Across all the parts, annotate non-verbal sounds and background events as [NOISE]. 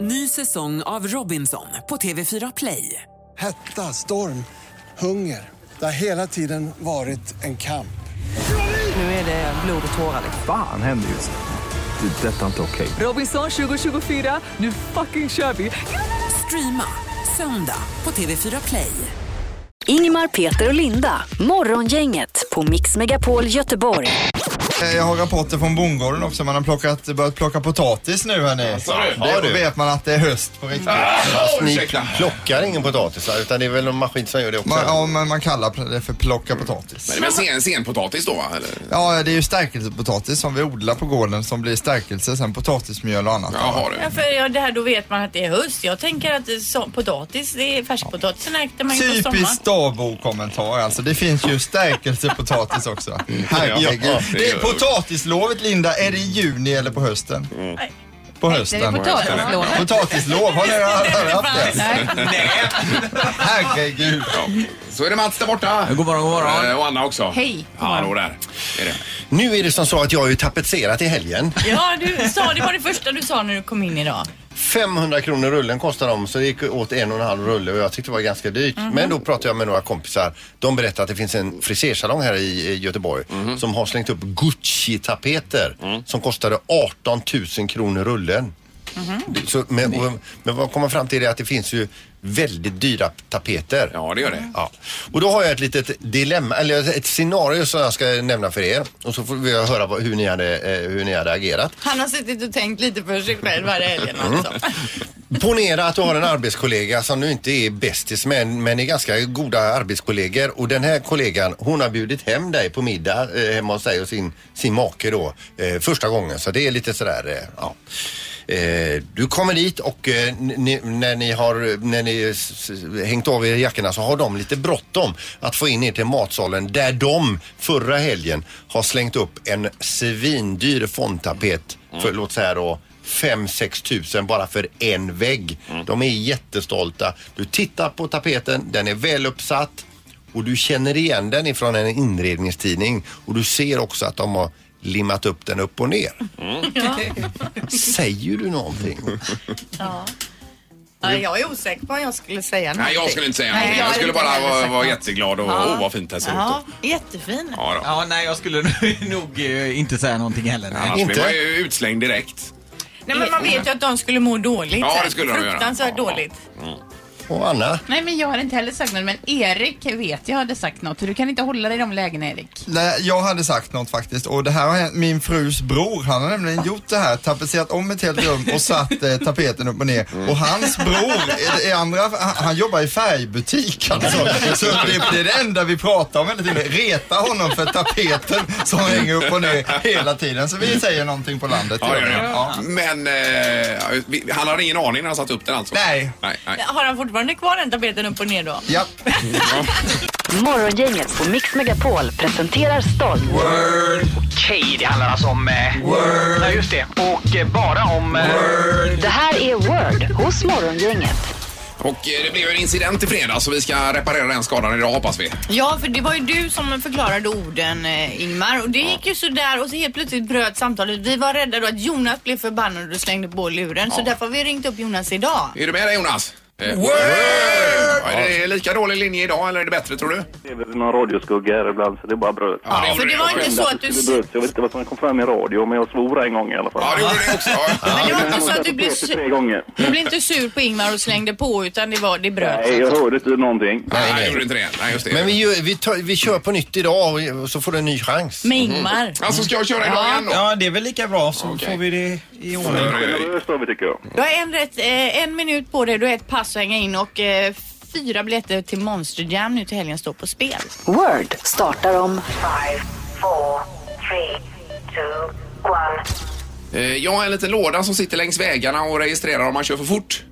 Ny säsong av Robinson på TV4 Play. Hetta, storm, hunger. Det har hela tiden varit en kamp. Nu är det blod och tårar. liksom. Fan händer just nu. Det. är Detta är inte okej. Robinson 2024, nu fucking kör vi! Streama söndag på TV4 Play. Ingmar, Peter och Linda. Morgongänget på Mix Megapol Göteborg. Eh, Jag har rapporter från bondgården också. Man har plockat, börjat plocka potatis nu hörni. Har Då du? vet man att det är höst på riktigt. Ni Ursäkta. plockar ingen potatis här, utan det är väl någon maskin som gör det också? Man, ja, men man kallar det för plocka potatis. Men det är väl sen, senpotatis då? va, Eller? Ja, det är ju stärkelsepotatis som vi odlar på gården som blir stärkelse, sen potatismjöl och annat. Jaha du. Ja, för ja, det här, då vet man att det är höst. Jag tänker att det är så, potatis, det är färskpotatisen äkte man ju på sommaren. Typisk Dabo-kommentar alltså. Det finns ju stärkelsepotatis också. Herregud. Ja, det Det är gör det. potatislovet Linda. Är det i juni eller på hösten? Nej. På Det hösten. är potatislån. Potatislov, har ni aldrig haft det? Nej. Herregud. Så är det Mats där borta. God morgon, god morgon. Eh, Och Anna också. Hej. Hallå där. Är det. Nu är det som så att jag har ju tapetserat i helgen. Ja, du sa, det var det första du sa när du kom in idag. 500 kronor rullen kostar de så det gick åt en och en halv rulle och jag tyckte det var ganska dyrt. Mhm. Men då pratade jag med några kompisar. De berättade att det finns en frisersalong här i eh, Göteborg som har slängt upp Gucci-tapeter som kostade 18 000 kronor rullen. Det- Så, men, och, men vad kommer fram till är att det finns ju väldigt dyra tapeter. Ja, det gör Mm. det. Ja. Och då har jag ett litet dilemma, eller ett scenario som jag ska nämna för er. Och så får vi höra vad, hur, ni hade, eh, hur ni hade agerat. Han har suttit och tänkt lite för sig själv varje helgen alltså. Ponera att du har en arbetskollega som du inte är bästis med, men är ganska goda arbetskollegor. Och den här kollegan, hon har bjudit hem dig på middag eh, hemma hos sig och sin, sin make då. Eh, första gången, så det är lite sådär, eh, ja. Eh, du kommer dit och eh, ni, när ni har när ni s- s- hängt av er jackorna så har de lite bråttom att få in er till matsalen där de förra helgen har slängt upp en svindyr fondtapet för låt säga då 5-6 tusen bara för en vägg. De är jättestolta. Du tittar på tapeten, den är väl uppsatt och du känner igen den ifrån en inredningstidning och du ser också att de har limmat upp den upp och ner. Säger du någonting? Ja. Ja, jag är osäker på om jag skulle säga något. Nej, jag skulle inte säga Nej, någonting. jag Jag hade skulle inte bara heller vara, sagt vara något. jätteglad och Ja. åh vad fint det ser ut. Ja, då. jättefin. Ja, då. Ja, nej, jag skulle [LAUGHS] nog, eh, inte säga någonting heller. nej. Annars blir Inte? man ju utslängd direkt. Nej, men man vet ju att de skulle må dåligt. Ja, sen. det skulle de göra. Fruktansvärt Ja. dåligt. Och Anna? Nej, men jag har inte heller sagt något. Men Erik vet jag hade sagt något. Du kan inte hålla dig i de lägena, Erik. Nej, jag hade sagt något faktiskt och det här har hänt min frus bror. Han har nämligen gjort det här, tapetserat om ett helt rum och satt eh, tapeten upp och ner. Mm. Och hans bror, i- i andra, han, han jobbar i färgbutik alltså. Så det, det är det enda vi pratar om hela tiden. Reta honom för tapeten som hänger upp och ner hela tiden. Så vi säger någonting på landet. Ja, ja, ja. Ja. Men eh, vi- han hade ingen aning när han satte upp den alltså? Nej. Nej, nej. Har han fortfarande kvar den tapeten upp och ner då? Japp. Morgongänget på Mix Megapol presenterar stolt. Okej, det handlar alltså om... Eh, Word. Ja, just det. Och eh, bara om... Eh, Det här är Word hos Morgongänget. Och eh, det blev ju en incident i fredags så vi ska reparera den skadan idag hoppas vi. Ja, för det var ju du som förklarade orden eh, Ingmar och det gick ju sådär och så helt plötsligt bröt samtalet. Vi var rädda då att Jonas blev förbannad och slängde på luren så därför har vi ringt upp Jonas idag. Är du med där Jonas? Eh, Word! Ja, Är det lika dålig linje idag eller är det bättre tror du? TV med någon radioskugga här ibland så det bara bröt. Ja, för det gjorde var inte också. så att du... Det bröt, jag vet inte vad som kom fram i radio men jag svor en gång i alla fall. Ja, det gjorde det också. Ja. Men det var inte Jag så att du har blev, sett det sur, Tre gånger. du blev inte sur på Ingmar och slängde på utan det var det bröt. Nej, jag hörde inte någonting. Nej, Nej, jag nej. gjorde inte det. Nej, just det. Men vi, gör- vi, tar, vi kör på nytt idag och- och så får du en ny chans. Med Ingmar. Alltså ska jag köra idag igen då? Ja, det är väl lika bra så Okej. får vi det i ordning. Generöst av er tycker jag. Du har en, rätt, eh, en minut på dig, du har ett pass att hänga in och eh, fyra biljetter till Monster Jam nu till helgen står på spel. Word startar om Eh, Jag har en liten låda som sitter längs vägarna och registrerar om man kör för fort.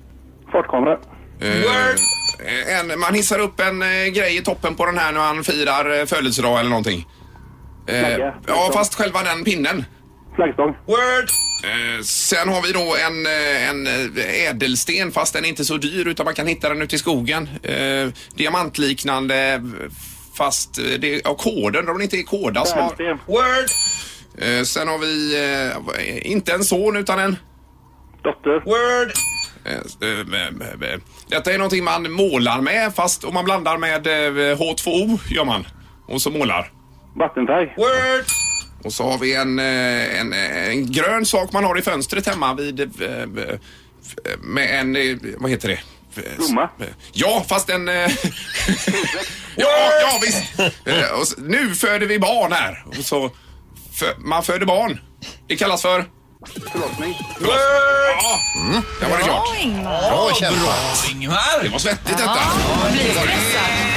Fartkamera. Eh, eh, En, man hissar upp en eh, grej i toppen på den här när han firar eh, födelsedag eller någonting. Eh, Flagga. ja, fast själva den pinnen. Flaggstång. Word! Eh, sen har vi då en, eh, en eh, ädelsten fast den är inte så dyr utan man kan hitta den ute i skogen. Eh, diamantliknande fast eh, det är ja, koden, om det inte är kåda som har... Stjärnsten. Word! Eh, sen har vi eh, inte en son utan en... Dotter. Word! Eh, eh, eh, eh. Detta är någonting man målar med fast om man blandar med eh, H2O gör man. Och så målar. Vattenfärg. Word! Och så har vi en, eh, en, eh, en grön sak man har i fönstret hemma vid... eh, eh, f- Med en... eh, Vad heter det? Blomma? Ja, fast en... eh, [LAUGHS] ja, ja, visst. Eh, Och s- nu föder vi barn här. Och så, fö, man föder barn. Det kallas för... Förlossning. Ja, där var det klart. Bra Ingmar. Bra kämpat. Ingemar! Det var svettigt detta. Ja, blir stressad.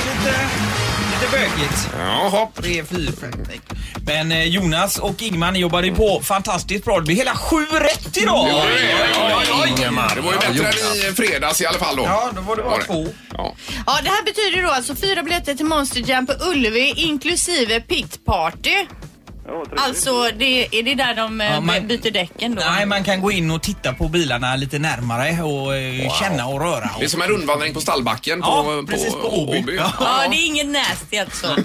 Lite bökigt. Jaha. Tre, fyra, fem, sex. Men eh, Jonas och Ingman jobbade ju på fantastiskt bra. Det blir hela sju rätt idag! Ja, det är det. Ja, ja, ja. Ingemar. Det var ju bättre än i fredags i alla fall då. Ja, då var det bara två. Ja. Ja, det här betyder då alltså fyra biljetter till Monster Jam på Ullevi inklusive Pit Party. Ja, trevligt. Alltså, det, är det där de eh, Ja, man- byter däcken då? Nej, man kan gå in och titta på bilarna lite närmare och eh, känna och röra. Det är som en rundvandring på stallbacken Ja, på, precis på Åby. Ja. Ja, det är inget nasty alltså.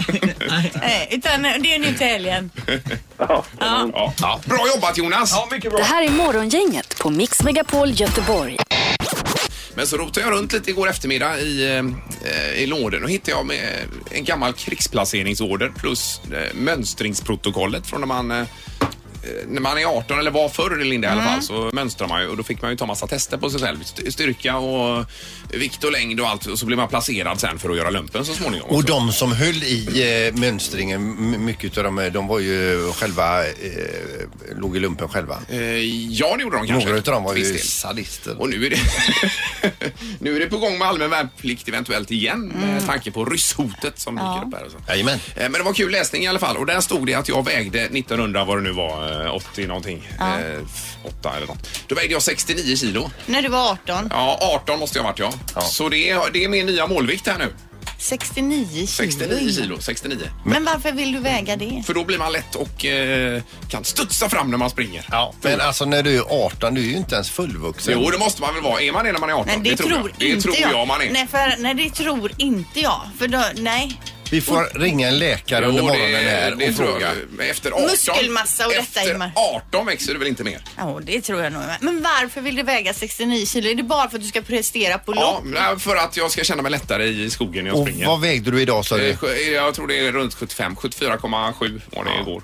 Nej, utan eh, det är nu till helgen. Ja. Bra jobbat Jonas! Ja, mycket bra. Det här är Morgongänget på Mix Megapol Göteborg. Men så rotade jag runt lite igår eftermiddag i, eh, i lådan och hittade jag med en gammal krigsplaceringsorder plus eh, mönstringsprotokollet från när man eh, när man är 18 eller var förr Linda Mm. i alla fall så mönstrar man ju och då fick man ju ta massa tester på sig själv. St- Styrka och vikt och längd och allt och så blir man placerad sen för att göra lumpen så småningom. Och så, de som höll i eh, mönstringen, m- mycket av dem, eh, de var ju själva, eh, låg i lumpen själva. eh, ja, det gjorde de kanske. Några av dem var Viss ju del. sadister. Och nu är, det [LAUGHS] nu är det på gång med allmän värnplikt eventuellt igen Mm. med tanke på rysshotet som dyker upp här. Och så. Jajamän. Eh, Men det var kul läsning i alla fall och där stod det att jag vägde 1900 vad det nu var, eh, 80 någonting. Ja. 8 eller något. Då vägde jag 69 kilo. När du var 18. Ja, 18 måste jag ha varit ja. Så det är, det är min nya målvikt här nu. 69 kilo. 69 kilo, 69. Men varför vill du väga det? För då blir man lätt och eh, kan studsa fram när man springer. Ja, men alltså när du är 18, du är ju inte ens fullvuxen. Jo, det måste man väl vara. Är man det när man är 18? Nej, det, tror, jag. Det inte tror jag, man är. Nej, för, nej, det tror inte jag. För då, nej. Vi får ringa en läkare Jo, under morgonen det, här det och tror fråga. Jag. Efter 18, Muskelmassa och detta, Efter Ingmar. 18 växer du väl inte mer? Ja, det tror jag nog. Men varför vill du väga 69 kilo? Är det bara för att du ska prestera på Ja, lopp? nej, för att jag ska känna mig lättare i skogen när jag Och springer. vad vägde du idag sa Eh, du? sj- Jag tror det är runt 75, 74,7 var det igår.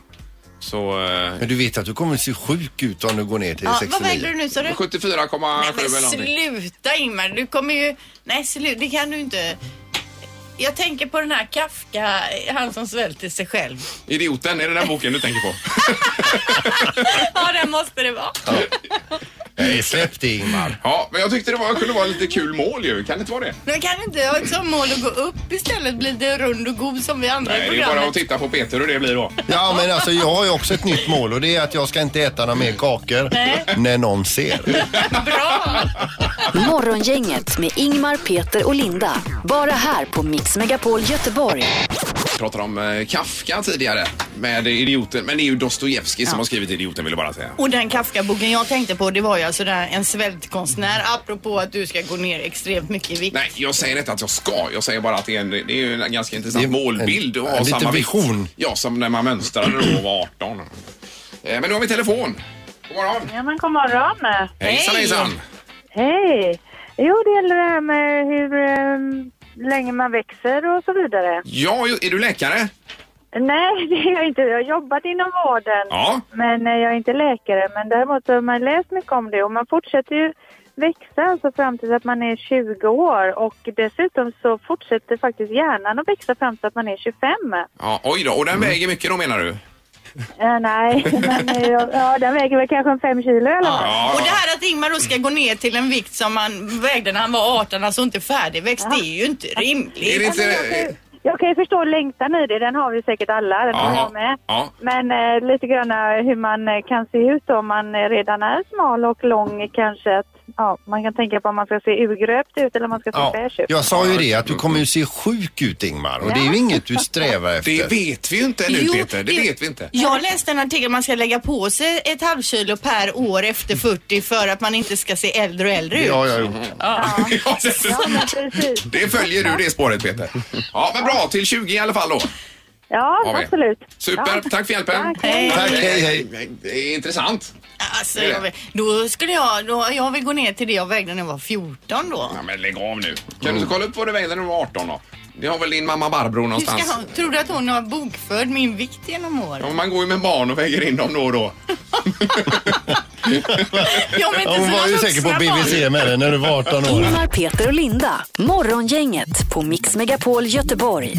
Så... eh, Men du vet att du kommer se sjuk ut om du går ner till Ja, vad 69. vägde du nu sa du? 74,7 Nej, men eller någonting. sluta Ingmar, du kommer ju... Nej, sluta, det kan du inte. Jag tänker på den här Kafka, han som svälter sig själv. [LAUGHS] Idioten, är det den boken du tänker på? Ja, den måste det vara. Nej, släpp det Ingmar. Ja, men jag tyckte det var, kunde vara lite kul mål ju. Kan det inte vara det? Men kan du inte ha ett som mål att gå upp istället? Bli lite rund och god som vi andra i Nej, det är bara att programmet? titta på Peter hur det blir då. [LAUGHS] Ja, men alltså jag har ju också ett nytt mål och det är att jag ska inte äta några mer kakor Nej. när någon ser. [LAUGHS] Bra! Morgongänget med Ingmar, Peter och Linda. Bara här på Mix Megapol Göteborg. Vi pratade om eh, Kafka tidigare med idioten. Men det är ju Dostojevskij som har skrivit idioten vill jag bara säga. Och den Kafka-boken jag tänkte på det var ju alltså där en svältkonstnär apropå att du ska gå ner extremt mycket i vikt. Nej, jag säger inte att jag ska. Jag säger bara att det är en, det är ju en ganska intressant Det är målbild en- att en ha liten samma vision. Vikt. Ja, som när man mönstrade då och var 18. Eh, Men nu har vi telefon. God morgon. Ja, men god morgon. Hejsan, Hej. hejsan. Hej! Jo, det gäller det här med hur ehm, länge man växer och så vidare. Ja, ju- är du läkare? Nej, [LAUGHS] det är jag inte. Jag har jobbat inom vården, Ja. men eh, jag är inte läkare. Men däremot så har man läst mycket om det och man fortsätter ju växa alltså fram tills att man är 20 år och dessutom så fortsätter faktiskt hjärnan att växa fram till att man är 25. ja. Oj då, och den väger mycket då menar du? Eh, nej, [LAUGHS] men eh, jag- ja, den väger väl kanske en fem kilo eller vad? Ja. Och det här att Ingmar då ska gå ner till en vikt som han vägde när han var 18, alltså inte färdigväxt, det är ju inte Är det rimligt. inte... Alltså, Jag kan ju förstå längtan i det, den har vi säkert alla, den har Ja. jag med. Ja. Men eh, lite grann eh, hur man eh, kan se ut om man eh, redan är smal och lång eh, kanske. Att, ja, man kan tänka på om man ska se urgröpt ut eller om man ska se Ja, fräsch ut. jag sa ju det att du kommer ju se sjuk ut Ingmar och det är ju inget du [LAUGHS] strävar Det efter. vet vi ju inte ännu Peter. Det vet vi inte. eh, Jag läste en artikel man ska lägga på sig ett halvkilo per år efter 40 för att man inte ska se äldre och äldre Det ut. har jag gjort. [LAUGHS] Ja, det- Ja, men precis. Det följer du det spåret Peter. Ja, men bra. Till 20 i alla fall då. Ja, Har vi. absolut. Super, Ja. tack för hjälpen. Tack, hej. Tack, hej, hej. Det är intressant. Alltså, jag vill, då skulle jag, då, jag vill gå ner till det jag vägde när jag var 14 då. Ja, men lägg av nu. Kan du inte kolla upp vad du vägde när du var 18 då? Det har väl din mamma Barbro Hur ska någonstans? hon, tror du att hon har bokförd min vikt genom åren? Ja, man går ju med barn och väger in dem då och då. Ja, men Hon var ju säkert på BVC med dig när du var [LAUGHS] 18 år. Ingemar, Peter och Linda. Morgongänget på Mix Megapol Göteborg.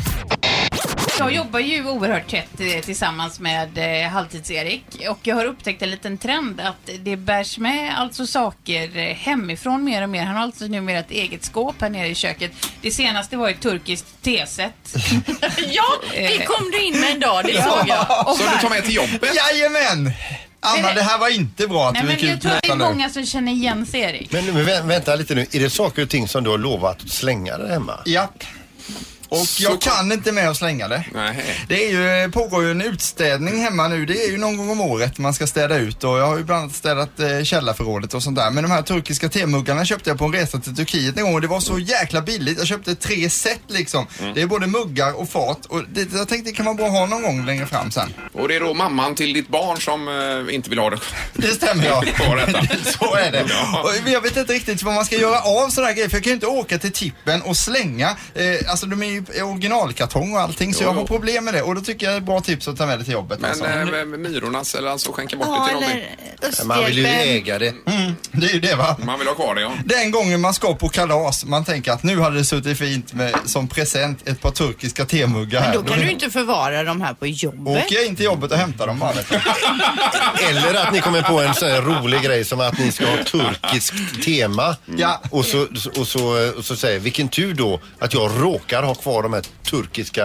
Jag jobbar ju oerhört tätt eh, tillsammans med eh, Halvtids-Erik och jag har upptäckt en liten trend att det bärs med alltså saker eh, hemifrån mer och mer. Han har alltså numera ett eget skåp här nere i köket. Det senaste var ett turkiskt teset. [LAUGHS] Eh. ja, det kom du in med en dag, det såg jag. Och varför- Jajamän! Anna, det här var inte bra att Nej, du men gick jag ut tror med att det är detta nu. många som känner igen sig, Erik. Men, men vä- vänta lite nu, är det saker och ting som du har lovat att slänga där hemma? Japp. Och jag kan inte med att slänga det. Nej. Det är ju, eh, pågår ju en utstädning hemma nu. Det är ju någon gång om året man ska städa ut och jag har ju bland annat städat eh, källarförrådet och sånt där. Men de här turkiska temuggarna köpte jag på en resa till Turkiet en gång och det var så jäkla billigt. Jag köpte tre set liksom. Det är både muggar och fat och det, jag tänkte det kan vara bra att ha någon gång längre fram sen. Och det är då mamman till ditt barn som eh, inte vill ha det. Det stämmer [LAUGHS] ja. På detta. [LAUGHS] Så är det. Och jag vet inte riktigt vad man ska göra av sådana här grejer för jag kan ju inte åka till tippen och slänga. Eh, alltså de är ju i originalkartong och allting så Jo, jag jo. har problem med det och då tycker jag det är ett bra tips att ta med det till jobbet. Men alltså. eh, med- med Myrornas eller alltså skänka bort Ja, det till någon. eller vill- Man vill ju Östhjälpen. äga det. Mm, det är ju det va. Man vill ha kvar det ja. Den gången man ska på kalas, man tänker att nu hade det suttit fint med, som present ett par turkiska temuggar Men här. då kan du inte förvara de här på jobbet. åker jag in till jobbet och hämtar dem bara. [LAUGHS] vet du. Eller att ni kommer på en sån här rolig grej som att ni ska ha turkiskt tema. Ja. Och, så, och, så, och så säger vilken tur då att jag råkar ha kvar de här turkiska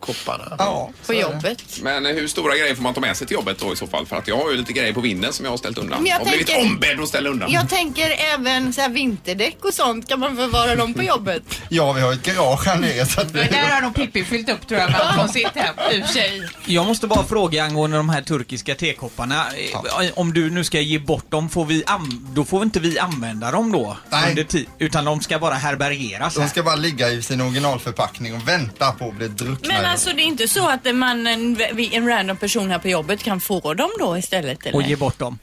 kopparna. Ja, på jobbet. Men eh, hur stora grejer får man ta med sig till jobbet då i så fall? För att jag har ju lite grejer på vinden som jag har ställt undan. Men jag Jag har blivit tänker- ombedd att ställa undan. Jag tänker även så här vinterdäck och sånt, kan man förvara dem på jobbet? Ja, vi har ett garage här nere så att Det vi... där har nog Pippi fyllt upp tror jag med allt från sitt hem. I och för sig. Jag måste bara fråga angående de här turkiska tekopparna. Eh, Om du nu ska ge bort dem, får vi an- då får inte vi använda dem då? Nej. Under ti- utan de ska bara härbärgeras De här. ska bara ligga i sin originalförpackning och vänta på att bli druckna. Men alltså det är inte så att man, en, en random person här på jobbet kan få dem då istället? Eller? Och ge bort dem.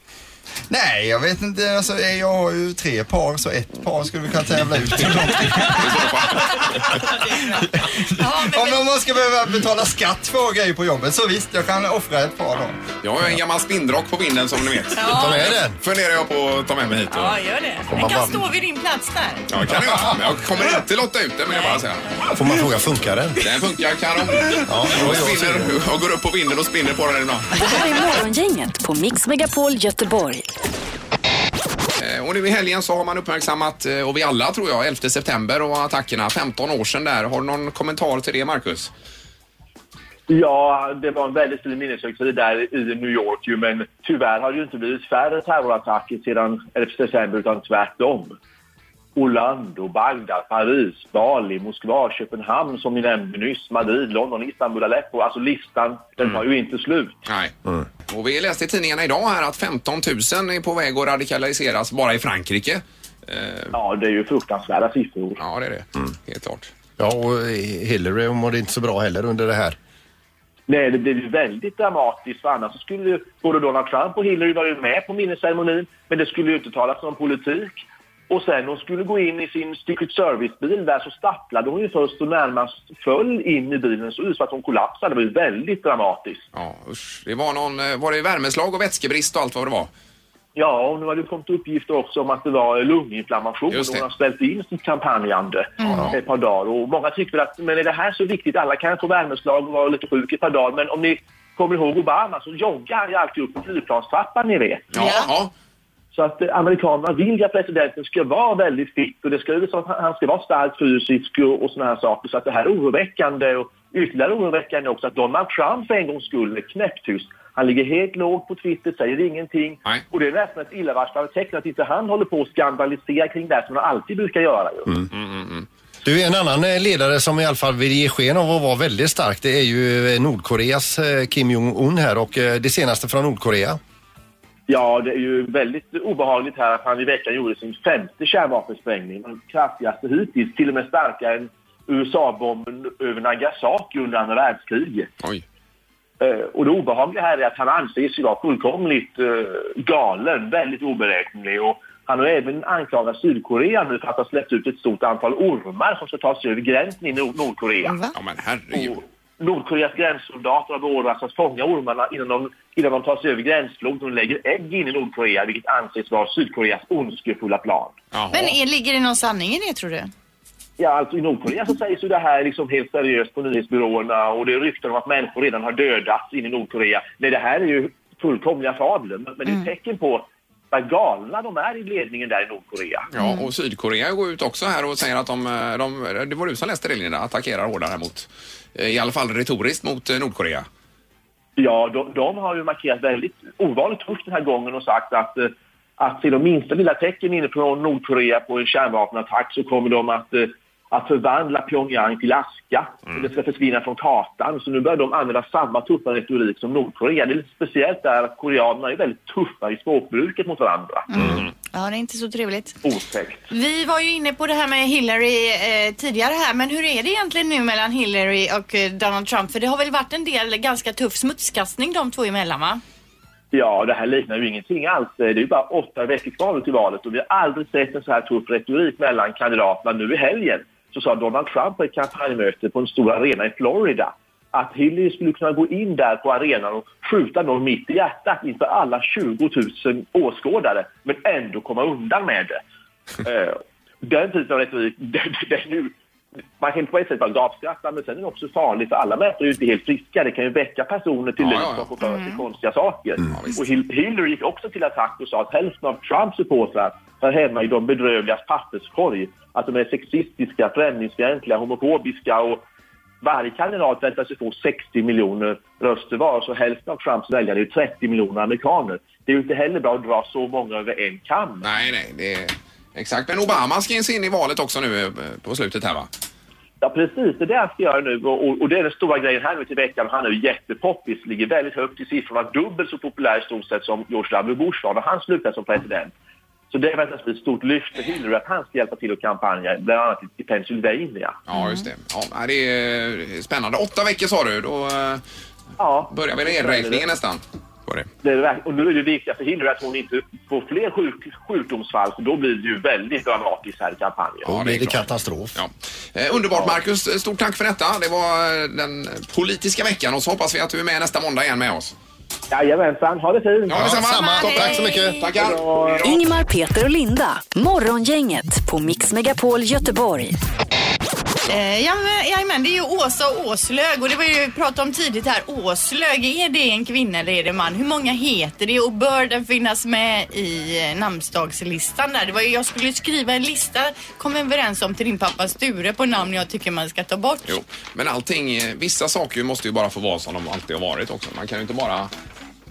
Nej, jag vet inte. Alltså, eh, jag har ju tre par, så ett par skulle vi kunna tävla ut. Om man ska behöva betala skatt för att ha grejer på jobbet, så visst, jag kan offra ett par då. Jag har ju en gammal spindrock på vinden som ni vet. Ja. Ta med den. Funderar jag på att ta med mig hit. Ja, gör det. Får Den man kan bara- stå vid din plats där. Ja, det kan jag. Men jag kommer inte lotta ut den vill jag bara säga. Får man fråga, funkar den? Den funkar kanon. Ja, Jag, spinner, jag går upp på vinden och spinner på den ibland. Det här är Morgongänget på Mix Megapol Göteborg. Eh, Och nu i helgen så har man uppmärksammat, eh, och vi alla tror jag, 11 september och attackerna 15 år sedan där. Har du någon kommentar till det Marcus? Ja, det var en väldigt fin minneshögtid där i New York ju, men tyvärr har det ju inte blivit färre terrorattacker sedan 11 december utan tvärtom. Orlando, Bagdad, Paris, Bali, Moskva, Köpenhamn som ni nämnde nyss, Madrid, London, Istanbul, Aleppo. Alltså listan, den tar ju inte slut. Nej. Och vi läste i tidningarna idag här att 15 000 är på väg att radikaliseras bara i Frankrike. Ja, det är ju fruktansvärda siffror. Ja, det är det. Helt klart. Ja, och Hillary mådde inte så bra heller under det här. Nej, det blev ju väldigt dramatiskt för annars så skulle ju både Donald Trump och Hillary vara ju med på minnesceremonin men det skulle ju inte talas om politik. Och sen hon skulle gå in i sin Secret Service-bil där så stapplade hon ju först och närmast föll in i bilen så ut så att hon kollapsade. Det var ju väldigt dramatiskt. Ja, usch. Det var någon, eh, var det värmeslag och vätskebrist och allt vad det var? Ja, och nu har det kommit uppgifter också om att det var lunginflammation och Just det. hon har ställt in sitt kampanjande Mm. ett par dagar. Och många tycker väl att men är det här så viktigt? Alla kan få värmeslag och vara lite sjuk ett par dagar. Men om ni kommer ihåg Obama så joggar han ju alltid upp på flygplanstrappan, ni vet. Ja. Så att eh, amerikanerna vill ju att presidenten ska vara väldigt fit och det ska ju så att han- han ska vara stark fysisk och, och sådana här saker. Så att det här är oroväckande och ytterligare oroväckande också att Donald Trump för en gångs skull är knäpptyst. Han ligger helt lågt på Twitter, säger ingenting. Och det är nästan ett illavarslande tecken att inte han håller på att skandalisera kring det här som han alltid brukar göra. Ju. Du, en annan eh, ledare som i alla fall vill ge sken av att vara väldigt stark det är ju eh, Nordkoreas eh, Kim Jong-Un här och eh, det senaste från Nordkorea. Ja, det är ju väldigt obehagligt här att han i veckan gjorde sin femte kärnvapensprängning. Den kraftigaste hittills, till och med starkare än USA-bomben över Nagasaki under andra världskriget. Oj. Eh, Och det obehagliga här är att han anses ju vara fullkomligt eh, galen, väldigt oberäknelig. Och han har även anklagat Sydkorea nu för att ha släppt ut ett stort antal ormar som ska ta sig över gränsen i Nord- Nordkorea. Mm. Ja, men herregud. Nordkoreas gränssoldater har beordrats att fånga ormarna innan de, innan de tar sig över gränsfloden och lägger ägg in i Nordkorea, vilket anses vara Sydkoreas ondskefulla plan. Men är, ligger det någon sanning i det tror du? Ja, alltså i Nordkorea så sägs ju det här liksom helt seriöst på nyhetsbyråerna och det är rykten om att människor redan har dödats in i Nordkorea. Nej, det här är ju fullkomliga fabler, men, men det är ett tecken på vad galna de är i ledningen där i Nordkorea. Ja, och Sydkorea går ut också här och säger att de, eh, de det var du som läste det Linda, attackerar hårdare mot, eh, i alla fall retoriskt mot eh, Nordkorea. Ja, de, de har ju markerat väldigt ovanligt tufft den här gången och sagt att, eh, att till de minsta lilla tecken inifrån Nordkorea på en kärnvapenattack så kommer de att, eh, att förvandla Pyongyang till aska. och Det ska försvinna från kartan. Så nu börjar de använda samma tuffa retorik som Nordkorea. Det är lite speciellt där att koreanerna är väldigt tuffa i språkbruket mot varandra. Ja, det är inte så trevligt. Otäckt. Vi var ju inne på det här med Hillary eh, tidigare här, men hur är det egentligen nu mellan Hillary och eh, Donald Trump? För det har väl varit en del ganska tuff smutskastning de två emellan va? Ja, det här liknar ju ingenting alls. Det är ju bara åtta veckor kvar nu till valet och vi har aldrig sett en så här tuff retorik mellan kandidaterna. Nu i helgen så sa Donald Trump på ett kampanjmöte på en stor arena i Florida att Hillary skulle kunna gå in där på arenan och skjuta någon mitt i hjärtat inför alla 20 000 åskådare, men ändå komma undan med det. Eh, Den typen av retorik, [LAUGHS] den, den är ju man kan på ett sätt bara gapskratta, men sen är det också farligt för alla människor är ju inte helt friska. Det kan ju väcka personer till Ja, liv ja, ja. Mm. som får för sig konstiga saker. och Hil- Hillary gick också till attack och sa att hälften av Trumps supportrar hör hemma i de bedrövligas papperskorg. Att de är sexistiska, främlingsfientliga, homofobiska och varje kandidat väntar sig få 60 miljoner röster var, så hälften av Trumps väljare är ju 30 miljoner amerikaner. Det är ju inte heller bra att dra så många över en kam. Nej, nej, det är, exakt. Men Obama ska ge sig in i valet också nu eh, på slutet här va? Ja, precis. Det är det han ska göra nu. Och, och, och det är den stora grejen här nu till veckan. Han är ju jättepoppis, ligger väldigt högt i siffrorna. Dubbelt så populär i stort sett som George W. Bush var när han slutade som president. Så det väntas bli ett stort lyft för Hillary att han ska hjälpa till att kampanja, bland annat i- i Pennsylvania. Ja, just det. Ja, det är eh, spännande. Åtta veckor sa du, då eh, Ja. börjar vi nedräkningen nästan. Var det? Det är verk- och nu är det viktiga för Hillary att hon inte får fler sjuk, sjukdomsfall, för då blir det ju väldigt dramatiskt här i kampanjen. Ja, det är klart. katastrof. Ja. Eh, Underbart Marcus, stort tack för detta. Det var eh, den politiska veckan och så hoppas vi att du är med nästa måndag igen med oss. Jajamensan, ha det fint! Ja, detsamma. Tack så mycket. Tackar. Ingemar, Peter och Linda. Morgongänget på Mix Megapol Göteborg. Eh, ja, men, jajamän, det är ju Åsa och Åslög och det var ju prat om tidigt här. Åslög, är det en kvinna eller är det en man? Hur många heter det och bör den finnas med i eh, namnsdagslistan där? Det var ju, jag skulle ju skriva en lista, kom överens om till din pappa Sture på namn jag tycker man ska ta bort. Jo, men allting, eh, vissa saker måste ju bara få vara som de alltid har varit också. Man kan ju inte bara,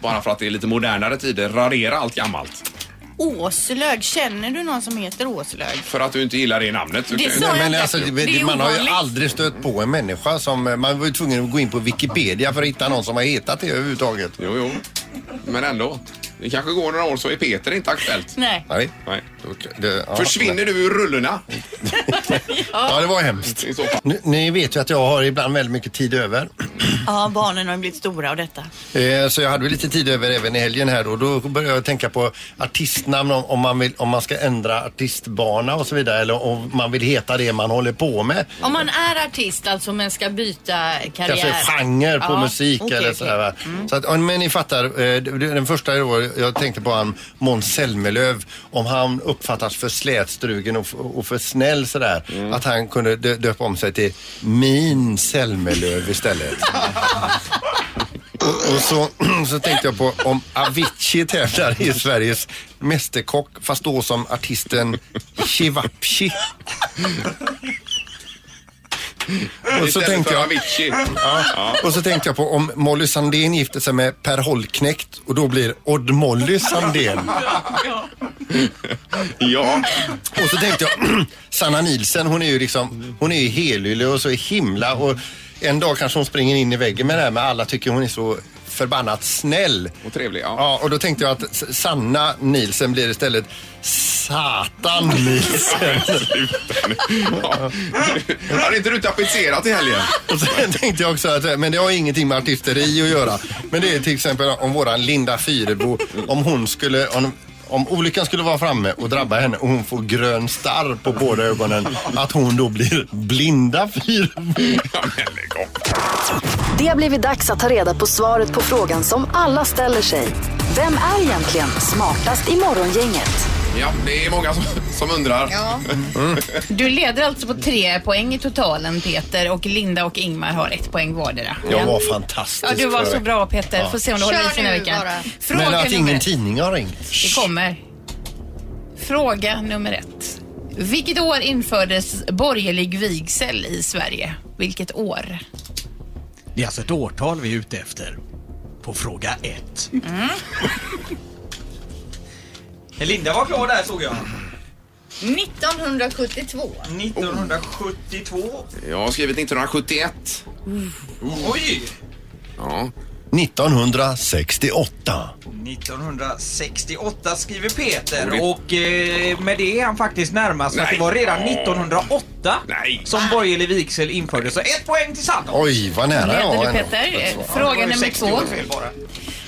bara för att det är lite modernare tider, radera allt gammalt. Åslög, känner du någon som heter Åslög? För att du inte gillar det namnet. så Det kan ju- sa jag Nej, men inte. alltså, Det är det, man har ju ovanligt. aldrig stött på en människa som... eh, Man var ju tvungen att gå in på Wikipedia för att hitta någon som har hetat det överhuvudtaget. Jo, jo. Men ändå. Det kanske går några år så är Peter inte aktuellt. Nej. Nej. Nej. Det, ja. Försvinner du ur rullorna? Ja, det var hemskt. I så fall. Nu, ni vet ju att jag har ibland väldigt mycket tid över. Ja, barnen har ju blivit stora av detta. Eh, Så jag hade väl lite tid över även i helgen här då. Då började jag tänka på artistnamn om, om, man, vill, om man ska ändra artistbana och så vidare. Eller om man vill heta det man håller på med. Om man är artist alltså men ska byta karriär. Kanske genre på Ja, musik okej, eller okej. Mm. sådär va. Så att, ja, men ni fattar, eh, det- det- den första då, jag tänkte på han Måns Zelmerlöw, om han uppfattas för slätstrugen och, f- och för snäll sådär. Mm. Att han kunde dö- döpa om sig till Min Zelmerlöw [LAUGHS] istället. Och, och så, [CLEARS THROAT] så tänkte jag på om Avicii tävlar i Sveriges Mästerkock fast då som artisten Shivapchi. Och så Istället tänkte för jag... Avicii. Ja. Och så tänkte jag på om Molly Sandén gifter sig med Per Holknekt och då blir Odd Molly Sandén. Ja. Och så tänkte jag, [CLEARS THROAT] Sanna Nilsen hon är ju liksom, hon är ju helylle och så himla och en dag kanske hon springer in i väggen med det här men alla tycker hon är så förbannat snäll. Och trevlig, ja. ja. Och då tänkte jag att S- Sanna Nielsen blir istället Satan Nielsen. [LAUGHS] Ja. Hade inte du tapetserat i helgen? Och sen [LAUGHS] tänkte jag också att, men det har ingenting med artisteri att göra. Men det är till exempel om våran Linda Fyrebo, om hon skulle, om, om olyckan skulle vara framme och drabba henne och hon får grön starr på båda ögonen, att hon då blir Blinda Fyrebo. Det har blivit dags att ta reda på svaret på frågan som alla ställer sig. Vem är egentligen smartast i morgongänget? Ja, det är många som, som undrar. Ja. Mm. Du leder alltså på tre poäng i totalen Peter och Linda och Ingmar har ett poäng vardera. Jag var Ja, fantastisk. du var så bra Peter. Ja. Får se om du håller i sig den här veckan. Fråga Men att nummer ingen ett. tidning har ringt. Det kommer. Fråga nummer ett. Vilket år infördes borgerlig vigsel i Sverige? Vilket år? Det är alltså ett årtal vi är ute efter. På fråga ett. Linda var klar där såg jag. 1972. 1972. Jag har skrivit 1971. Oj! Ja. 1968. 1968 skriver Peter Roligt. och eh, med det är han faktiskt närmast. Nej. Nej. Det var redan Ja. 1908 som borgerlig vigsel infördes. Så ett poäng till Sandra. Oj, vad nära jag Vet var. du, ändå. Peter? Eh, Det Fråga var ju nummer 60 två. år fel bara.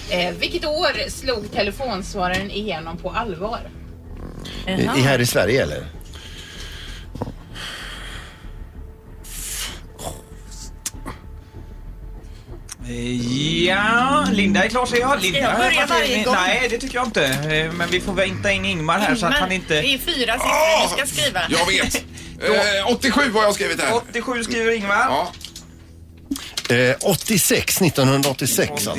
Eh, vilket år slog telefonsvararen igenom på allvar? I, i, här i Sverige eller? Eh, Ja, Linda är klar säger jag. Linda Ska jag börja har varit- varje gång? Nej, det tycker jag inte. Eh, Men vi får vänta in Ingmar här så att Ingmar, han inte... Det är fyra siffror du ska skriva. Jag vet. Eh, 87 har jag skrivit här. 87 skriver Ingmar. Ja. Eh, 86, 1986 alltså.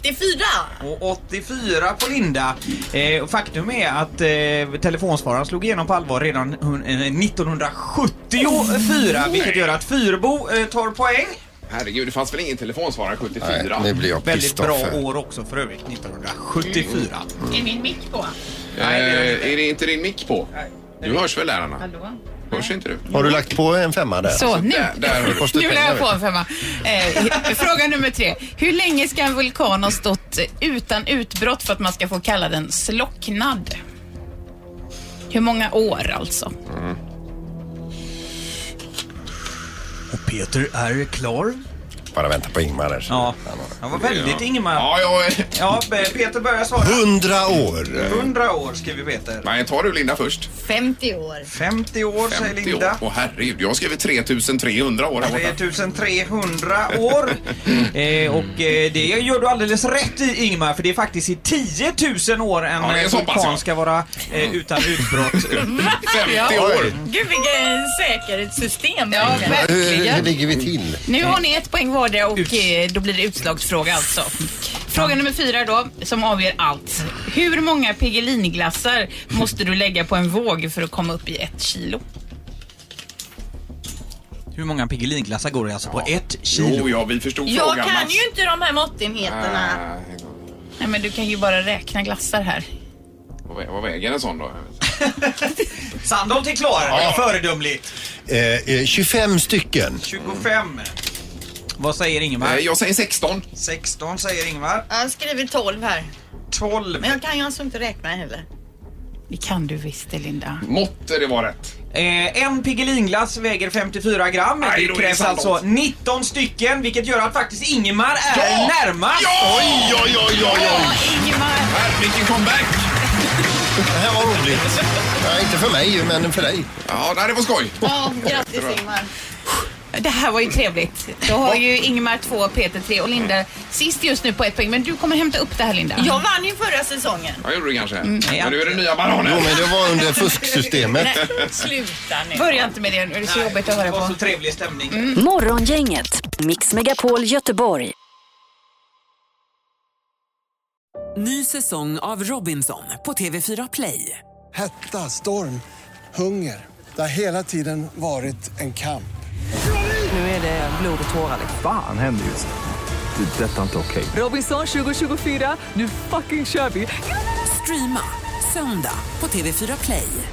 84! Och 84 på Linda. Eh, och faktum är att eh, telefonsvararen slog igenom på allvar redan hun- eh, 1974 vilket gör att Fyrbo eh, tar poäng. Herregud, det fanns väl ingen telefonsvarare 74? Nej, det blir jag Väldigt bra pissed off här. år också för övrigt, 1974. Är min mick på? eh, är det inte din mick på? Du hörs väl där, Anna? Hallå? Hörs inte du? Har du lagt på en femma där? Så, nu, Där, där har du kostat nu la pengar, jag på vet en femma. Eh, fråga nummer tre. Hur länge ska en vulkan ha stått utan utbrott för att man ska få kalla den slocknad? Hur många år alltså? Och Peter är klar. du. Bara vänta på Ingmar där. Ja, han var väldigt Ingmar. Ja, ja, Ja, Be- Peter börjar svara. 100 år. 100 år skriver Peter. Nej, tar du Linda först? 50 år. 50 år säger 50 Linda. år. Åh herregud, jag har skrivit 3300 år här borta. 3300 år. eh, och eh, det gör du alldeles rätt i Ingmar, för det är faktiskt i 10 000 år en Ja, det är eh, så pass, vulkan ja. ska vara eh, utan [LAUGHS] utbrott. 50 år. Gud vilken säkerhetssystem. Ja, Hur, hur verkligen. ligger vi till? Nu har ni ett poäng vardera och eh, då blir det utslagsfråga alltså. Fråga nummer fyra då, som avgör allt. Hur många Piggelinglassar måste du lägga på en våg för att komma upp i ett kilo? Hur många Piggelinglassar går det alltså på ett kilo? Jo, ja, vi förstod Äh, Jag frågan. kan ju inte de här måttenheterna. Nej men du kan ju bara räkna glassar här. Vad vä- Vad väger en sån då? Sandholt är klar, Ja. föredömligt. Eh, eh, 25 stycken. 25. Vad säger Ingmar? Eh, Jag säger 16. 16 säger Ingmar. Jag har skrivit 12 här. 12. Men jag kan ju alltså inte räkna heller. Det kan du visst det Linda. Måtte det var rätt. Eh, en Piggelinglass väger 54 gram. Aj, då det är krävs det alltså Sandholt. 19 stycken, vilket gör att faktiskt Ingmar är Ja! närmast. Ja! Oj, oj, oj, oj, oj. Ingemar. Här, vilken comeback! Det här var roligt. Ja, inte för mig, men för dig. Ja, nej, det var skoj. Ja, grattis Ingmar. Det här var ju trevligt. Då har ju Ingmar två, Peter tre och Linda sist just nu på ett poäng. Men du kommer hämta upp det här Linda. Jag vann ju förra säsongen. Jag gjorde det kanske. Mm, Men nu är det nya bananer. Jo, men det var under fusksystemet. Sluta nu. Börja inte med det nu, det är så jobbigt att höra Det var på. så trevlig stämning. Morgongänget, Mix Megapol Göteborg. Ny säsong av Robinson på TV4 Play. Hetta, storm, hunger. Det har hela tiden varit en kamp. Nu är det blod och tårar. Fan händer just nu. Det. är Detta är inte okej. Robinson 2024, nu fucking kör vi! Streama söndag på TV4 Play.